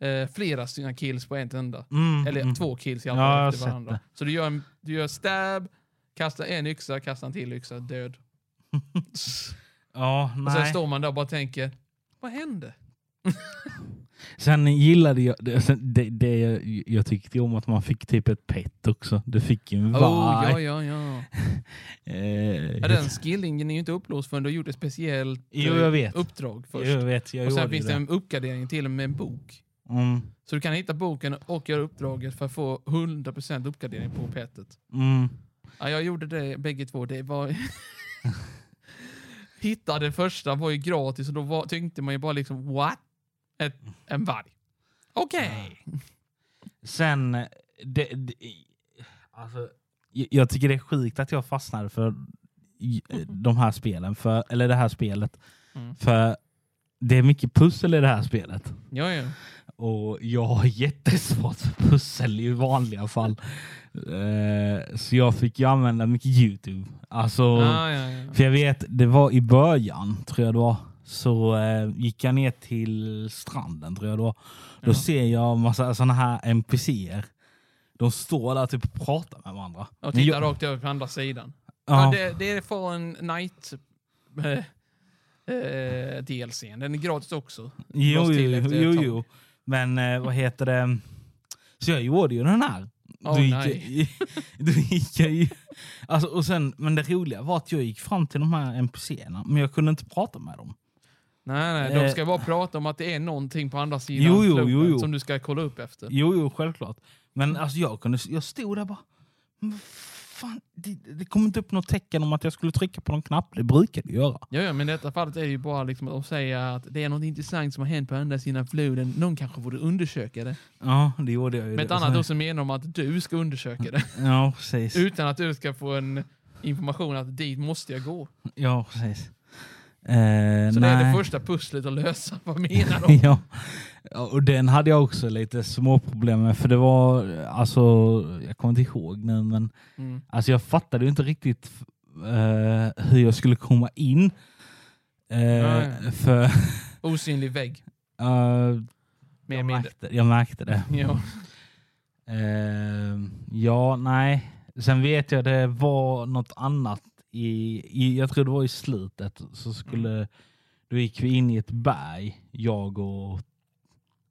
[SPEAKER 3] eh, flera sina kills på en enda.
[SPEAKER 2] Mm,
[SPEAKER 3] Eller
[SPEAKER 2] mm.
[SPEAKER 3] två kills i
[SPEAKER 2] Ja, jag
[SPEAKER 3] alla
[SPEAKER 2] har
[SPEAKER 3] fall efter
[SPEAKER 2] sett
[SPEAKER 3] varandra.
[SPEAKER 2] det.
[SPEAKER 3] Så du gör, en, du gör stab, kastar en yxa, kastar en till yxa, död.
[SPEAKER 2] Ja,
[SPEAKER 3] Och sen
[SPEAKER 2] nej.
[SPEAKER 3] står man där och bara tänker, vad hände?
[SPEAKER 2] Sen gillade jag det, sen det, det jag, jag tyckte om att man fick typ ett pet också. Du fick ju en varg.
[SPEAKER 3] Oh, ja, ja, ja.
[SPEAKER 2] Eh,
[SPEAKER 3] ja den skillingen är ju inte upplåst förrän du gjorde ett speciellt eh,
[SPEAKER 2] Jo, jag vet.
[SPEAKER 3] uppdrag först.
[SPEAKER 2] jag vet, jag
[SPEAKER 3] och sen
[SPEAKER 2] gjorde
[SPEAKER 3] finns det
[SPEAKER 2] det.
[SPEAKER 3] en uppgradering till med en bok.
[SPEAKER 2] Mm,
[SPEAKER 3] Så du kan hitta boken och göra uppdraget för att få 100% uppgradering på petet.
[SPEAKER 2] mm.
[SPEAKER 3] Ja, jag gjorde det bägge två. Det var... Hitta det första var ju gratis och då var, tänkte man ju bara liksom what? Ett, en varg. Okej.
[SPEAKER 2] Sen, eh, det, det, alltså, jag, jag tycker det är sjukt att jag fastnade för i- eh, de här spelen, för, eller det här spelet.
[SPEAKER 3] Mm.
[SPEAKER 2] För det är mycket pussel i det här spelet.
[SPEAKER 3] Ja, ja.
[SPEAKER 2] Och jag har jättesvårt för pussel i vanliga fall. Eh, så jag fick ju använda mycket Youtube. Alltså,
[SPEAKER 3] Ah, ja, ja.
[SPEAKER 2] För jag vet, det var i början, tror jag det var, så eh, gick jag ner till stranden, tror jag det var. Då
[SPEAKER 3] Ja.
[SPEAKER 2] ser jag massa sådana här NPCer. De står där typ och pratar med varandra.
[SPEAKER 3] Och
[SPEAKER 2] Men
[SPEAKER 3] titta
[SPEAKER 2] jag-
[SPEAKER 3] rakt över på andra sidan. Ja.
[SPEAKER 2] Ja,
[SPEAKER 3] det, det är Fallen Night eh, eh, DLCn. Den är gratis också.
[SPEAKER 2] jo,
[SPEAKER 3] lades till
[SPEAKER 2] jo,
[SPEAKER 3] efter ett
[SPEAKER 2] jo,
[SPEAKER 3] tag.
[SPEAKER 2] jo. Men eh, vad heter det? Så jag gjorde ju den här.
[SPEAKER 3] Åh,
[SPEAKER 2] då, gick
[SPEAKER 3] nej.
[SPEAKER 2] jag, då gick jag ju... Alltså, och sen, men det roliga var att jag gick fram till de här NPCerna, men jag kunde inte prata med dem.
[SPEAKER 3] Nej, nej, de
[SPEAKER 2] Eh.
[SPEAKER 3] ska bara prata om att det är någonting på andra sidan
[SPEAKER 2] Jo, jo,
[SPEAKER 3] floden
[SPEAKER 2] jo, jo.
[SPEAKER 3] som du ska kolla upp efter.
[SPEAKER 2] Jo, jo, självklart. Men alltså, jag, kunde, jag stod där bara... "Men vad Fan, det, det kom inte upp något tecken om att jag skulle trycka på någon knapp. Det brukar det göra.
[SPEAKER 3] Ja, ja, men i detta fallet är det ju bara liksom att de säger att det är något intressant som har hänt på andra sidan floden. Någon kanske borde undersöka det.
[SPEAKER 2] Ja, det gjorde jag ju.
[SPEAKER 3] Med ett
[SPEAKER 2] det.
[SPEAKER 3] annat ord så menar de att du ska undersöka det.
[SPEAKER 2] Ja, precis.
[SPEAKER 3] Utan att du ska få en information att dit måste jag gå.
[SPEAKER 2] Ja, precis. Eh,
[SPEAKER 3] Så det
[SPEAKER 2] nej.
[SPEAKER 3] är det första pusslet att lösa. Vad menar de?
[SPEAKER 2] ja. Ja, Och den hade jag också lite små problem med. För det var, alltså, jag kommer inte ihåg nu, men
[SPEAKER 3] Mm.
[SPEAKER 2] Alltså jag fattade ju inte riktigt eh, hur jag skulle komma in. Eh,
[SPEAKER 3] Nej.
[SPEAKER 2] För
[SPEAKER 3] Osynlig vägg.
[SPEAKER 2] eh,
[SPEAKER 3] Mer
[SPEAKER 2] jag,
[SPEAKER 3] eller mindre.
[SPEAKER 2] märkte, jag märkte det.
[SPEAKER 3] Ja.
[SPEAKER 2] Eh, ja, nej. Sen vet jag det var något annat. I, i, jag tror det var i slutet. Så skulle,
[SPEAKER 3] Mm.
[SPEAKER 2] Då gick vi in i ett berg, jag och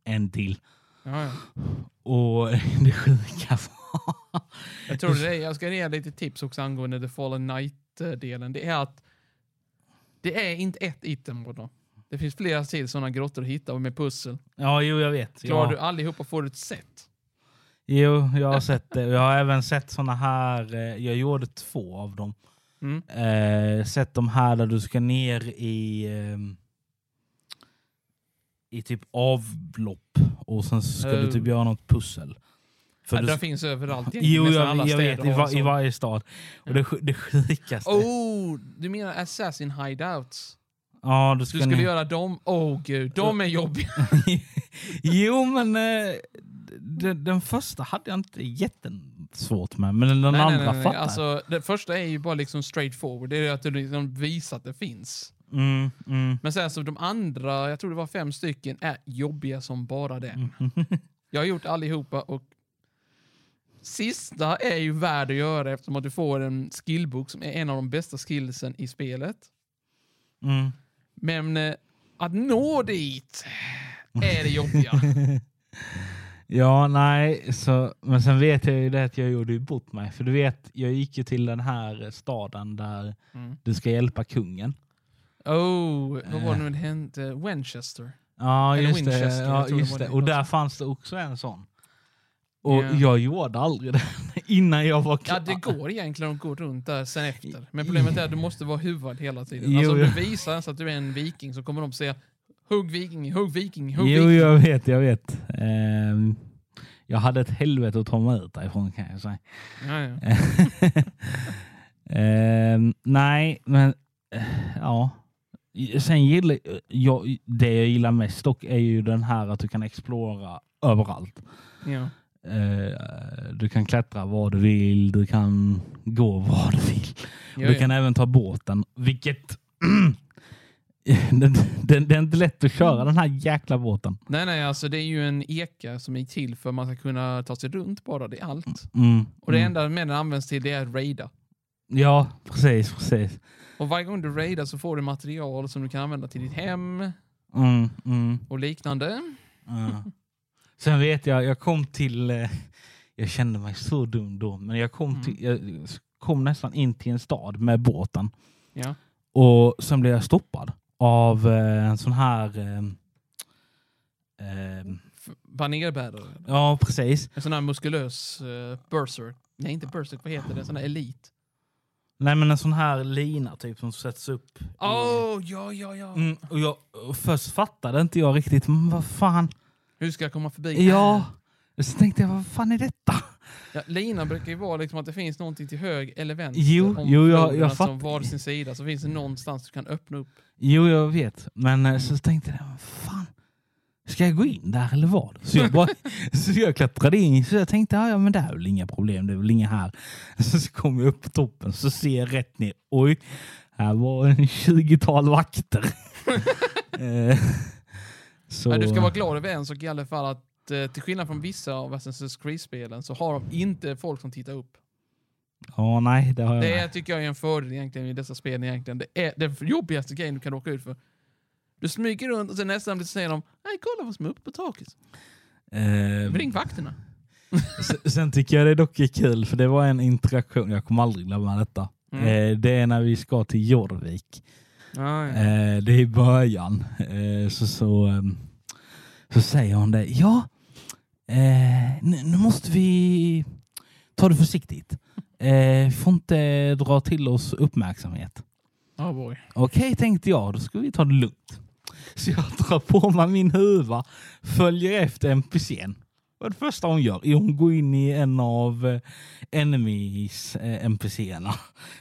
[SPEAKER 2] en till.
[SPEAKER 3] Ja, ja.
[SPEAKER 2] Och det sjuka var...
[SPEAKER 3] Jag tror det är, jag ska ge lite tips också angående The Fallen Night-delen. Det är att det är inte ett itemområde. Det finns flera till sådana grottor att hitta med pussel.
[SPEAKER 2] ja, jo jag vet.
[SPEAKER 3] Klarar
[SPEAKER 2] Ja.
[SPEAKER 3] du allihopa får du ett set.
[SPEAKER 2] Jo, jag har sett det. Jag har även sett såna här, eh, jag gjorde två av dem.
[SPEAKER 3] Mm.
[SPEAKER 2] Eh, sett de här där du ska ner i ehm, i typ avlopp och sen så ska du typ
[SPEAKER 3] Eh.
[SPEAKER 2] göra något pussel. För
[SPEAKER 3] Ja,
[SPEAKER 2] du,
[SPEAKER 3] den finns överallt.
[SPEAKER 2] jo,
[SPEAKER 3] Nästan
[SPEAKER 2] jag, jag vet.
[SPEAKER 3] städer
[SPEAKER 2] I,
[SPEAKER 3] har
[SPEAKER 2] var,
[SPEAKER 3] sån.
[SPEAKER 2] I varje stad. Och det, sj- det sjukaste.
[SPEAKER 3] Oh, du menar Assassin Hideouts?
[SPEAKER 2] Ja, du ska
[SPEAKER 3] Du skulle
[SPEAKER 2] ner.
[SPEAKER 3] göra dem? Oh gud, de är jobbiga.
[SPEAKER 2] jo, men eh, den, den första hade jag inte jättesvårt med. Men den
[SPEAKER 3] Nej, nej,
[SPEAKER 2] andra
[SPEAKER 3] nej, nej.
[SPEAKER 2] fattar jag.
[SPEAKER 3] Alltså, det första är ju bara liksom straight forward. Det är att du liksom visar att det finns.
[SPEAKER 2] Mm, mm.
[SPEAKER 3] Men sen så de andra, jag tror det var fem stycken, är jobbiga som bara
[SPEAKER 2] Mm.
[SPEAKER 3] det. Jag har gjort allihopa och sista är ju värd att göra eftersom att du får en skillbok som är en av de bästa skillsen i spelet.
[SPEAKER 2] Mm.
[SPEAKER 3] Men eh, att nå dit är det jobbiga.
[SPEAKER 2] Ja, nej. Så, men sen vet jag ju det att jag gjorde ju bort mig. För du vet, jag gick ju till den här staden där
[SPEAKER 3] Mm.
[SPEAKER 2] du ska hjälpa kungen.
[SPEAKER 3] Oh, vad
[SPEAKER 2] Eh.
[SPEAKER 3] var det nu det hände? Winchester.
[SPEAKER 2] Ja,
[SPEAKER 3] Eller
[SPEAKER 2] just det.
[SPEAKER 3] Winchester, jag
[SPEAKER 2] Ja,
[SPEAKER 3] tror det
[SPEAKER 2] just
[SPEAKER 3] var
[SPEAKER 2] det.
[SPEAKER 3] det
[SPEAKER 2] Och där
[SPEAKER 3] också.
[SPEAKER 2] fanns det också en sån. Och
[SPEAKER 3] Ja.
[SPEAKER 2] jag gjorde aldrig den innan jag var klar.
[SPEAKER 3] Ja, det går egentligen att gå runt där sen efter. Men problemet är att du måste vara huvad hela tiden.
[SPEAKER 2] Jo,
[SPEAKER 3] Alltså, om du
[SPEAKER 2] jo.
[SPEAKER 3] visar ens att du är en viking så kommer de säga Hugg viking, hugg viking, hugg
[SPEAKER 2] Jo,
[SPEAKER 3] viking.
[SPEAKER 2] jag vet, jag vet. Ehm, jag hade ett helvete att ta mig ut därifrån kan jag säga.
[SPEAKER 3] Ja, ja.
[SPEAKER 2] Ehm, nej, men eh, ja. Sen gillar jag, det jag gillar mest dock är ju den här att du kan explora överallt.
[SPEAKER 3] Ja.
[SPEAKER 2] Eh, du kan klättra var du vill, du kan gå var du vill.
[SPEAKER 3] Ja,
[SPEAKER 2] du
[SPEAKER 3] ja.
[SPEAKER 2] kan även ta båten, vilket... den, den, det är inte lätt att köra den här jäkla båten.
[SPEAKER 3] Nej, nej, alltså det är ju en eka som är till för att man ska kunna ta sig runt bara, det är allt.
[SPEAKER 2] Mm,
[SPEAKER 3] Och det
[SPEAKER 2] mm.
[SPEAKER 3] enda med den används till det är att raida.
[SPEAKER 2] Ja, precis, precis.
[SPEAKER 3] Och varje gång du raidar så får du material som du kan använda till ditt hem
[SPEAKER 2] Mm, mm.
[SPEAKER 3] och liknande.
[SPEAKER 2] Ja. Sen vet jag, jag kom till... eh, Jag kände mig så dum då, men jag kom, till, jag kom nästan in till en stad med båten.
[SPEAKER 3] Ja.
[SPEAKER 2] Och sen blev jag stoppad av eh, en sån här... Eh, eh,
[SPEAKER 3] F- Banerbärare.
[SPEAKER 2] ja, precis.
[SPEAKER 3] En sån här muskulös uh, berserk. Nej, inte berserk. Vad heter det? En sån här elit.
[SPEAKER 2] Nej, men en sån här lina typ som sätts upp. i-
[SPEAKER 3] Åh, oh, ja, ja, ja.
[SPEAKER 2] Mm, och jag, och först fattade inte jag riktigt, men vad fan.
[SPEAKER 3] Hur ska jag komma förbi?
[SPEAKER 2] Ja. Så tänkte jag, vad fan är detta?
[SPEAKER 3] Ja, linan brukar ju vara liksom att det finns någonting till höger eller vänster.
[SPEAKER 2] Jo,
[SPEAKER 3] om
[SPEAKER 2] jo, jag-
[SPEAKER 3] floden,
[SPEAKER 2] jag
[SPEAKER 3] alltså om
[SPEAKER 2] fattar.
[SPEAKER 3] var sin sida så finns det någonstans du kan öppna upp.
[SPEAKER 2] Jo, jag vet. Men eh, så tänkte jag, vad fan. Ska jag gå in där eller vad? Så jag, bara, så jag klättrade in. Så jag tänkte, ja, ja men det här är väl inga problem. Det är väl inga här. Så, så kom jag upp på toppen. Så ser jag rätt ner. Oj, här var en 20-tal vakter. Eh, så, eh,
[SPEAKER 3] Men du ska vara glad över en sak i alla fall att eh, till skillnad från vissa av Assassin's Creed-spelen så har de inte folk som tittar upp.
[SPEAKER 2] Ja, nej, det har jag.
[SPEAKER 3] Det
[SPEAKER 2] med.
[SPEAKER 3] är, tycker jag är en fördel egentligen i dessa spel. Egentligen. Det är den jobbigaste grejen du kan råka ut för. Du smyger runt och sen nästan blir- säger de Nej, kolla vad som är uppe på taket.
[SPEAKER 2] Eh,
[SPEAKER 3] Ring vakterna.
[SPEAKER 2] S- Sen tycker jag det dock är kul, för det var en interaktion, jag kommer aldrig glömma detta.
[SPEAKER 3] Mm.
[SPEAKER 2] Eh, det är när vi ska till Jorvik. Eh, det är i början. Eh, så, så, ehm, så säger hon det, ja, eh, nu, nu måste vi ta det försiktigt. Eh, vi får inte dra till oss uppmärksamhet.
[SPEAKER 3] Oh boy.
[SPEAKER 2] Okej, tänkte jag, då ska vi ta det lugnt. Så jag drar på mig min huva, följer efter NPCn. Vad det första hon gör är hon går in i en av eh, enemies eh, NPCerna.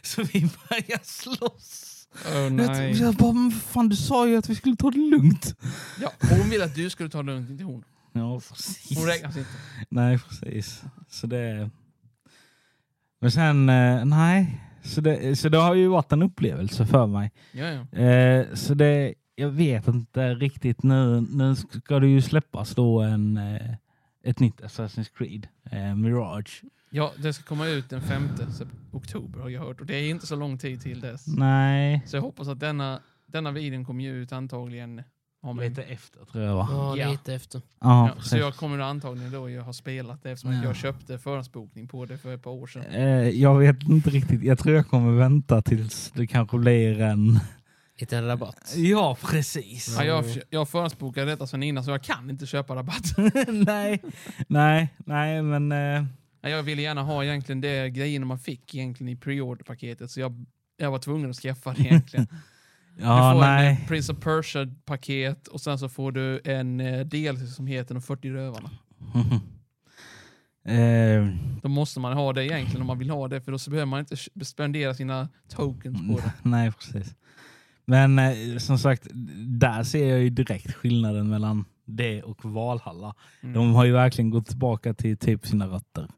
[SPEAKER 2] Så vi börjar slåss.
[SPEAKER 3] Oh,
[SPEAKER 2] Nej.
[SPEAKER 3] nej.
[SPEAKER 2] Jag bara, men vad fan du sa ju att vi skulle ta det lugnt.
[SPEAKER 3] Ja, hon vill att du skulle ta det lugnt, inte hon.
[SPEAKER 2] Ja, precis.
[SPEAKER 3] Hon räknas inte.
[SPEAKER 2] Nej, precis. Så det... Men sen, eh, nej. Så det, så det har ju varit en upplevelse för mig.
[SPEAKER 3] Ja, ja.
[SPEAKER 2] Eh, så det, jag vet inte riktigt nu. Nu ska det ju släppas då en, eh, ett nytt Assassin's Creed, eh, Mirage.
[SPEAKER 3] ja, det ska komma ut den 5 sep- oktober har jag hört och det är inte så lång tid till dess.
[SPEAKER 2] Mm. Nej.
[SPEAKER 3] Så jag hoppas att denna, denna videon kommer ju ut antagligen om
[SPEAKER 2] Lite efter tror jag va?
[SPEAKER 1] Ja,
[SPEAKER 3] Ah, Ja.
[SPEAKER 1] lite efter.
[SPEAKER 2] Ja,
[SPEAKER 3] Ja,
[SPEAKER 2] precis.
[SPEAKER 3] så jag kommer antagligen då ju ha spelat det eftersom att
[SPEAKER 2] Ja.
[SPEAKER 3] jag köpte förhandsbokning på det för ett par år sedan.
[SPEAKER 2] Eh, jag vet inte riktigt. Jag tror jag kommer vänta tills det kanske blir en...
[SPEAKER 1] Liten rabatt.
[SPEAKER 2] Ja, precis.
[SPEAKER 3] Ja, jag, jag förhandsbokade detta sen innan så jag kan inte köpa rabatt.
[SPEAKER 2] nej, nej, nej, men... Eh,
[SPEAKER 3] Nej, Jag ville gärna ha egentligen det grejerna man fick egentligen i pre-order-paketet så jag, jag var tvungen att skaffa det egentligen.
[SPEAKER 2] ja,
[SPEAKER 3] du får en
[SPEAKER 2] nej.
[SPEAKER 3] eh, Prince of Persia-paket och sen så får du en eh, del som heter De 40 rövarna.
[SPEAKER 2] eh,
[SPEAKER 3] Då måste man ha det egentligen om man vill ha det för då så behöver man inte sh- spendera sina tokens
[SPEAKER 2] Mm.
[SPEAKER 3] på det.
[SPEAKER 2] Nej, precis. Men eh, som sagt, där ser jag ju direkt skillnaden mellan det och Valhalla.
[SPEAKER 3] Mm.
[SPEAKER 2] De har ju verkligen gått tillbaka till typ sina rötter.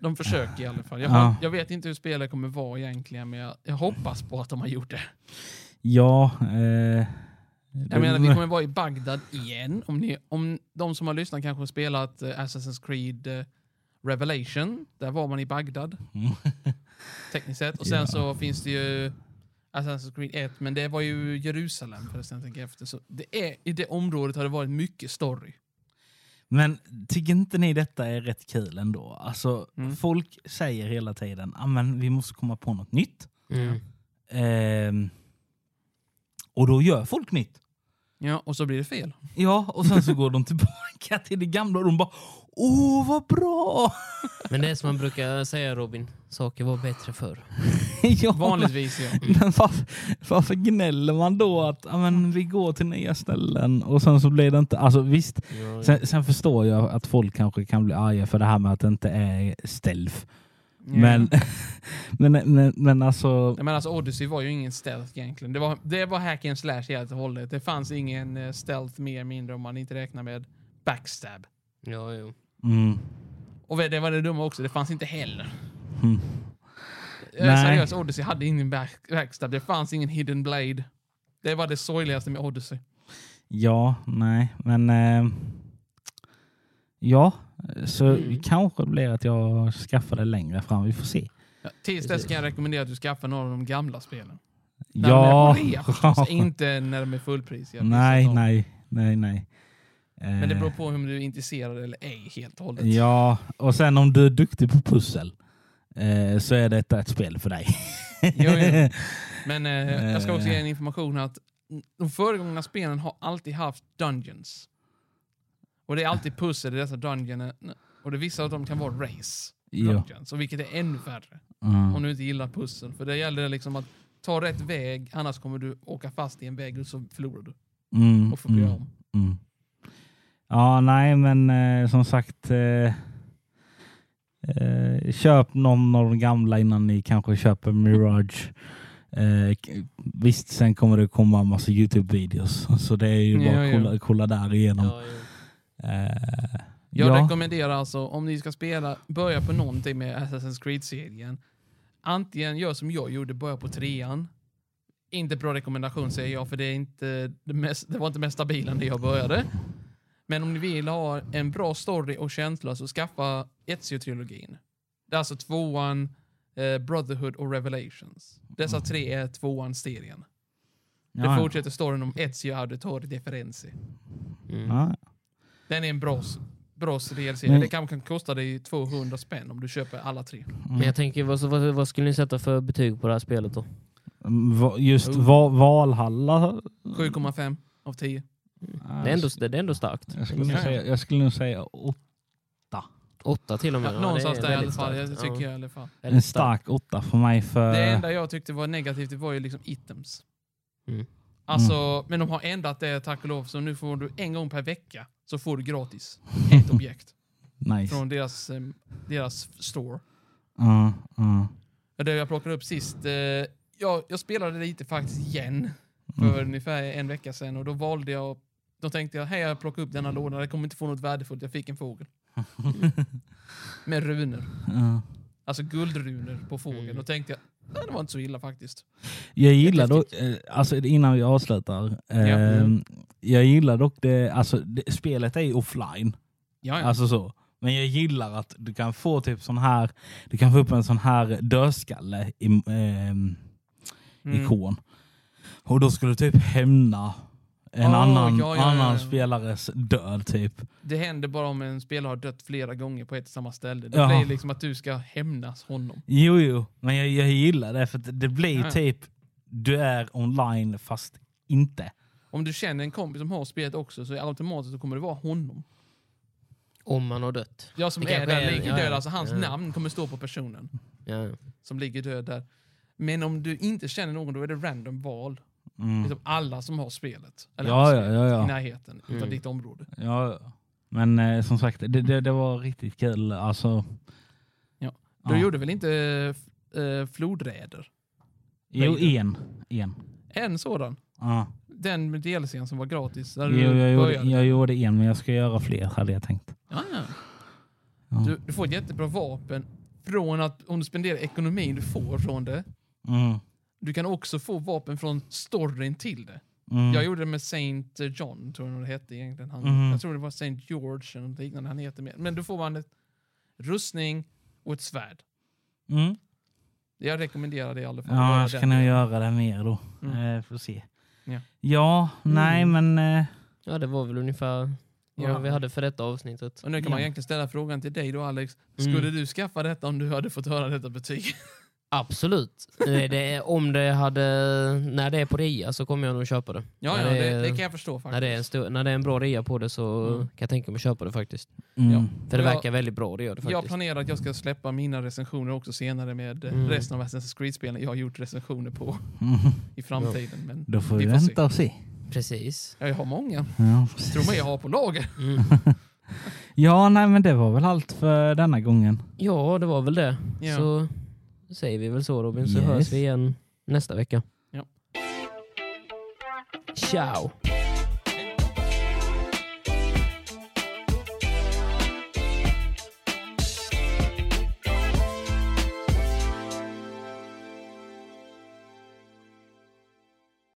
[SPEAKER 3] De försöker i alla fall. Jag,
[SPEAKER 2] Ja.
[SPEAKER 3] har, jag vet inte hur spelet kommer vara egentligen men jag, jag hoppas på att de har gjort det.
[SPEAKER 2] Ja, eh,
[SPEAKER 3] Jag menar, vi
[SPEAKER 2] Mm.
[SPEAKER 3] kommer vara i Bagdad igen. Om, ni, om de som har lyssnat kanske har spelat eh, Assassin's Creed eh, Revelation. Där var man i Bagdad,
[SPEAKER 2] Mm.
[SPEAKER 3] tekniskt sett. Och sen
[SPEAKER 2] Ja.
[SPEAKER 3] så finns det ju Assassin's Creed 1, men det var ju Jerusalem förresten, tänker jag efter. Så det är, i det området har det varit mycket story.
[SPEAKER 2] Men tycker inte ni detta är rätt kul ändå? Alltså,
[SPEAKER 3] Mm.
[SPEAKER 2] folk säger hela tiden att vi måste komma på något nytt.
[SPEAKER 1] Mm.
[SPEAKER 2] Ehm, och då gör folk nytt.
[SPEAKER 3] Ja, och så blir det fel.
[SPEAKER 2] Ja, och sen så går de tillbaka till det gamla och de bara Åh, vad bra!
[SPEAKER 1] Men det är som man brukar säga Robin, saker var bättre förr.
[SPEAKER 2] ja,
[SPEAKER 3] Vanligtvis ja.
[SPEAKER 2] Men varför, varför gnäller man då att ja, men vi går till nya ställen och sen så blir det inte... Alltså visst,
[SPEAKER 1] Ja,
[SPEAKER 2] sen, sen förstår jag att folk kanske kan bli arga för det här med att det inte är stealth. Men, men, men, men alltså...
[SPEAKER 3] Ja, men alltså Odyssey var ju ingen stealth egentligen. Det var, det var hack and slash helt och hållet. Det fanns ingen eh, stealth mer eller mindre om man inte räknar med backstab.
[SPEAKER 1] ja, ja.
[SPEAKER 2] Mm,
[SPEAKER 3] Och det var det dumma också, det fanns inte heller.
[SPEAKER 2] mm,
[SPEAKER 3] Eh,
[SPEAKER 2] Nej.
[SPEAKER 3] Seriöst, Odyssey hade ingen back- backstab. Det fanns ingen hidden blade. Det var det sorgligaste med Odyssey.
[SPEAKER 2] ja, nej, men... Eh, ja, så
[SPEAKER 1] Mm.
[SPEAKER 3] Mm.
[SPEAKER 2] kanske det blir att jag skaffar det längre fram. Vi får se.
[SPEAKER 3] Tills dess kan jag rekommendera att du skaffar några av de gamla spelen. När
[SPEAKER 2] Ja.
[SPEAKER 3] de är på rea förstås, inte när de är fullpris. jag har
[SPEAKER 2] nej,
[SPEAKER 3] missat dem.
[SPEAKER 2] nej, nej, nej.
[SPEAKER 3] Men det beror
[SPEAKER 2] Eh,
[SPEAKER 3] på hur du är intresserad eller ej helt och hållet.
[SPEAKER 2] Ja, och sen om du är duktig på pussel eh, så är detta ett spel för dig.
[SPEAKER 3] Jo, jo. Men eh, jag ska också ge en information här att de föregångna spelen har alltid haft dungeons. Och det är alltid pussel i dessa dungeons. Och det vissa av dem kan vara race
[SPEAKER 2] Jo.
[SPEAKER 3] dungeons, och vilket är ännu värre. Om
[SPEAKER 2] Mm.
[SPEAKER 3] du inte gillar pussel. För det gäller liksom att ta rätt väg, annars kommer du åka fast i en väg och så förlorar du.
[SPEAKER 2] Mm.
[SPEAKER 3] Och får börja
[SPEAKER 2] mm,
[SPEAKER 3] om.
[SPEAKER 2] mm. Ja, nej, men eh, som sagt. Eh, eh, köp någon av de gamla innan ni kanske köper Mirage. Eh, k- visst, sen kommer det komma en massa Youtube-videos. Så det är ju bara att
[SPEAKER 3] Ja, ja.
[SPEAKER 2] kolla, kolla där igenom.
[SPEAKER 1] Ja, ja.
[SPEAKER 2] Eh,
[SPEAKER 3] Jag
[SPEAKER 2] ja.
[SPEAKER 3] rekommenderar alltså, om ni ska spela, börja på någonting med Assassin's Creed-serien. Antingen gör som jag gjorde, börja på trean. Inte bra rekommendation säger jag, för det, är inte det, mest, det var inte mest stabila när jag började. Men om ni vill ha en bra story och känsla så skaffa Ezio-trilogin. Det är alltså tvåan, eh, Brotherhood och Revelations. Dessa tre är tvåan-serien. Det
[SPEAKER 2] Ja, ja.
[SPEAKER 3] fortsätter storyn om Ezio Auditore de Firenze.
[SPEAKER 1] Mm.
[SPEAKER 2] Ja.
[SPEAKER 3] Den är en bra, s- bra DLC.
[SPEAKER 2] Men- Mm.
[SPEAKER 3] Det kanske kan kosta dig 200 spänn om du köper alla tre.
[SPEAKER 1] Men jag tänker, vad, vad, vad skulle ni sätta för betyg på det här spelet då?
[SPEAKER 2] Mm, va- Just
[SPEAKER 3] Oh.
[SPEAKER 2] va- Valhalla
[SPEAKER 3] 7,5 av 10.
[SPEAKER 1] Det är ändå, det är ändå starkt.
[SPEAKER 2] Jag skulle, nog
[SPEAKER 3] Ja, ja.
[SPEAKER 2] säga, jag skulle nog säga åt-
[SPEAKER 1] Åtta till och med.
[SPEAKER 3] Ja,
[SPEAKER 1] Ja, det
[SPEAKER 3] någonstans
[SPEAKER 1] är
[SPEAKER 3] där i alla
[SPEAKER 1] väldigt
[SPEAKER 3] fall. Jag
[SPEAKER 1] starkt.
[SPEAKER 3] tycker
[SPEAKER 1] Ja,
[SPEAKER 3] jag i alla fall.
[SPEAKER 1] väldigt
[SPEAKER 2] en stark åtta för mig. För,
[SPEAKER 3] Det enda jag tyckte var negativt det var ju liksom items.
[SPEAKER 1] Mm.
[SPEAKER 3] Alltså, Men de har ändrat det tack och lov. Så nu får du en gång per vecka så får du gratis ett objekt
[SPEAKER 2] nice.
[SPEAKER 3] från deras, em, deras store.
[SPEAKER 2] Ja, ja.
[SPEAKER 3] Ja, Det jag plockade upp sist. Eh, jag, jag spelade lite faktiskt igen för
[SPEAKER 2] Mm.
[SPEAKER 1] Mm.
[SPEAKER 3] ungefär en vecka sedan och då valde jag då tänkte jag, hej jag plockar upp
[SPEAKER 1] Mm.
[SPEAKER 3] denna lådan, jag kommer inte få något värdefullt, jag fick en fågel. Med runor,
[SPEAKER 2] ja.
[SPEAKER 3] alltså guldrunor på fågeln.
[SPEAKER 1] Mm.
[SPEAKER 3] Då tänkte jag, nej, det var inte så illa faktiskt.
[SPEAKER 2] Jag gillar dock, eh, alltså innan vi avslutar. eh,
[SPEAKER 3] Mm.
[SPEAKER 2] Jag gillar dock det, alltså det, spelet är ju offline.
[SPEAKER 3] Ja, ja.
[SPEAKER 2] Alltså så. Men jag gillar att du kan få typ sån här, du kan få upp en sån här dödskalle i, ehm,
[SPEAKER 3] Mm.
[SPEAKER 2] ikon. Och då ska du typ hämna en
[SPEAKER 3] Ah,
[SPEAKER 2] annan,
[SPEAKER 3] ja, ja, ja,
[SPEAKER 2] annan
[SPEAKER 3] ja.
[SPEAKER 2] spelares död typ.
[SPEAKER 3] Det händer bara om en spelare har dött flera gånger på ett och samma ställe. Det
[SPEAKER 2] Jaha.
[SPEAKER 3] blir liksom att du ska hämnas honom.
[SPEAKER 2] Jo, jo, men jag, jag gillar det för att det blir
[SPEAKER 3] Ja.
[SPEAKER 2] typ du är online fast inte.
[SPEAKER 3] Om du känner en kompis som har spelet också så är automatiskt så kommer det vara honom.
[SPEAKER 1] Om man har dött.
[SPEAKER 3] Jag som
[SPEAKER 1] Det
[SPEAKER 3] är
[SPEAKER 1] kanske
[SPEAKER 3] där
[SPEAKER 1] är-
[SPEAKER 3] ligger
[SPEAKER 1] ja,
[SPEAKER 3] död,
[SPEAKER 1] ja.
[SPEAKER 3] alltså hans
[SPEAKER 1] Ja.
[SPEAKER 3] namn kommer stå på personen.
[SPEAKER 1] Ja.
[SPEAKER 3] som ligger död där. Men om du inte känner någon, då är det random val.
[SPEAKER 2] Mm.
[SPEAKER 3] Liksom alla som har spelet. Eller
[SPEAKER 2] Ja,
[SPEAKER 3] har
[SPEAKER 2] ja,
[SPEAKER 3] spelet
[SPEAKER 2] ja, ja.
[SPEAKER 3] I närheten utav
[SPEAKER 1] Mm.
[SPEAKER 3] ditt område.
[SPEAKER 2] Ja, ja. men eh, som sagt, det, det, det var riktigt kul. Alltså,
[SPEAKER 3] Du
[SPEAKER 2] Ja.
[SPEAKER 3] gjorde väl inte äh, flodräder?
[SPEAKER 2] jo,
[SPEAKER 3] Vad är
[SPEAKER 2] en. en.
[SPEAKER 3] En sådan.
[SPEAKER 2] Ja.
[SPEAKER 3] Den med DLCn som var gratis.
[SPEAKER 2] Jo,
[SPEAKER 3] Där du
[SPEAKER 2] jag, gjorde,
[SPEAKER 3] började.
[SPEAKER 2] jag gjorde en, men jag ska göra fler hade jag tänkt.
[SPEAKER 3] Ja, ja.
[SPEAKER 2] Ja.
[SPEAKER 3] Du, du får ett jättebra vapen. Från att om du spenderar ekonomin du får från det.
[SPEAKER 2] Mm.
[SPEAKER 3] Du kan också få vapen från storyn till det.
[SPEAKER 2] Mm.
[SPEAKER 3] Jag gjorde det med Saint John, tror jag det hette egentligen. Han,
[SPEAKER 2] Mhm.
[SPEAKER 3] Jag tror det var Saint George eller något liknande han heter. Men då får man ett rustning och ett svärd.
[SPEAKER 2] Mm.
[SPEAKER 3] Jag rekommenderar det i alla fall. att
[SPEAKER 2] Ja,
[SPEAKER 3] göra
[SPEAKER 2] jag ska
[SPEAKER 3] den
[SPEAKER 2] nog
[SPEAKER 3] delen.
[SPEAKER 2] göra det mer då.
[SPEAKER 3] Mm.
[SPEAKER 2] Eh, får se.
[SPEAKER 3] Ja. Mm.
[SPEAKER 2] Ja, nej men... Eh,
[SPEAKER 1] ja, det var väl ungefär vad
[SPEAKER 3] Ja.
[SPEAKER 1] vi hade för detta avsnittet.
[SPEAKER 3] Och nu kan man
[SPEAKER 2] Ja.
[SPEAKER 3] egentligen ställa frågan till dig då Alex.
[SPEAKER 1] Mm.
[SPEAKER 3] Skulle du skaffa detta om du hade fått höra detta betyg?
[SPEAKER 1] Absolut. Eh, det, är- om det hade... När det är på rea så kommer jag nog köpa det.
[SPEAKER 3] Ja,
[SPEAKER 1] När
[SPEAKER 3] ja
[SPEAKER 1] det
[SPEAKER 3] det,
[SPEAKER 1] är-
[SPEAKER 3] det kan jag förstå faktiskt.
[SPEAKER 1] När det, är en stor, när det är en bra rea på det så
[SPEAKER 3] Mm.
[SPEAKER 1] kan jag tänka mig att köpa det faktiskt.
[SPEAKER 2] mm.
[SPEAKER 3] Ja.
[SPEAKER 1] För det
[SPEAKER 3] Jag-
[SPEAKER 1] verkar väldigt bra, det gör det
[SPEAKER 3] jag
[SPEAKER 1] faktiskt.
[SPEAKER 3] planerar att jag ska släppa mina recensioner också senare med eh,
[SPEAKER 1] Mm.
[SPEAKER 3] resten av Assassin's Creed-spelen jag har gjort recensioner på
[SPEAKER 2] Mm.
[SPEAKER 3] i framtiden. Men
[SPEAKER 2] Då får
[SPEAKER 3] Vi
[SPEAKER 2] vi,
[SPEAKER 3] får se.
[SPEAKER 2] vänta och se.
[SPEAKER 1] Precis.
[SPEAKER 3] ja, jag har många.
[SPEAKER 2] Ja,
[SPEAKER 3] Tror
[SPEAKER 2] precis.
[SPEAKER 3] mig jag har på lager.
[SPEAKER 1] Mm.
[SPEAKER 2] ja, nej men det var väl allt för denna gången.
[SPEAKER 1] Ja, det var väl det.
[SPEAKER 3] Ja.
[SPEAKER 1] Så säger vi väl så Robin, så
[SPEAKER 2] Yes.
[SPEAKER 1] hörs vi igen nästa vecka.
[SPEAKER 3] Ja.
[SPEAKER 1] Ciao!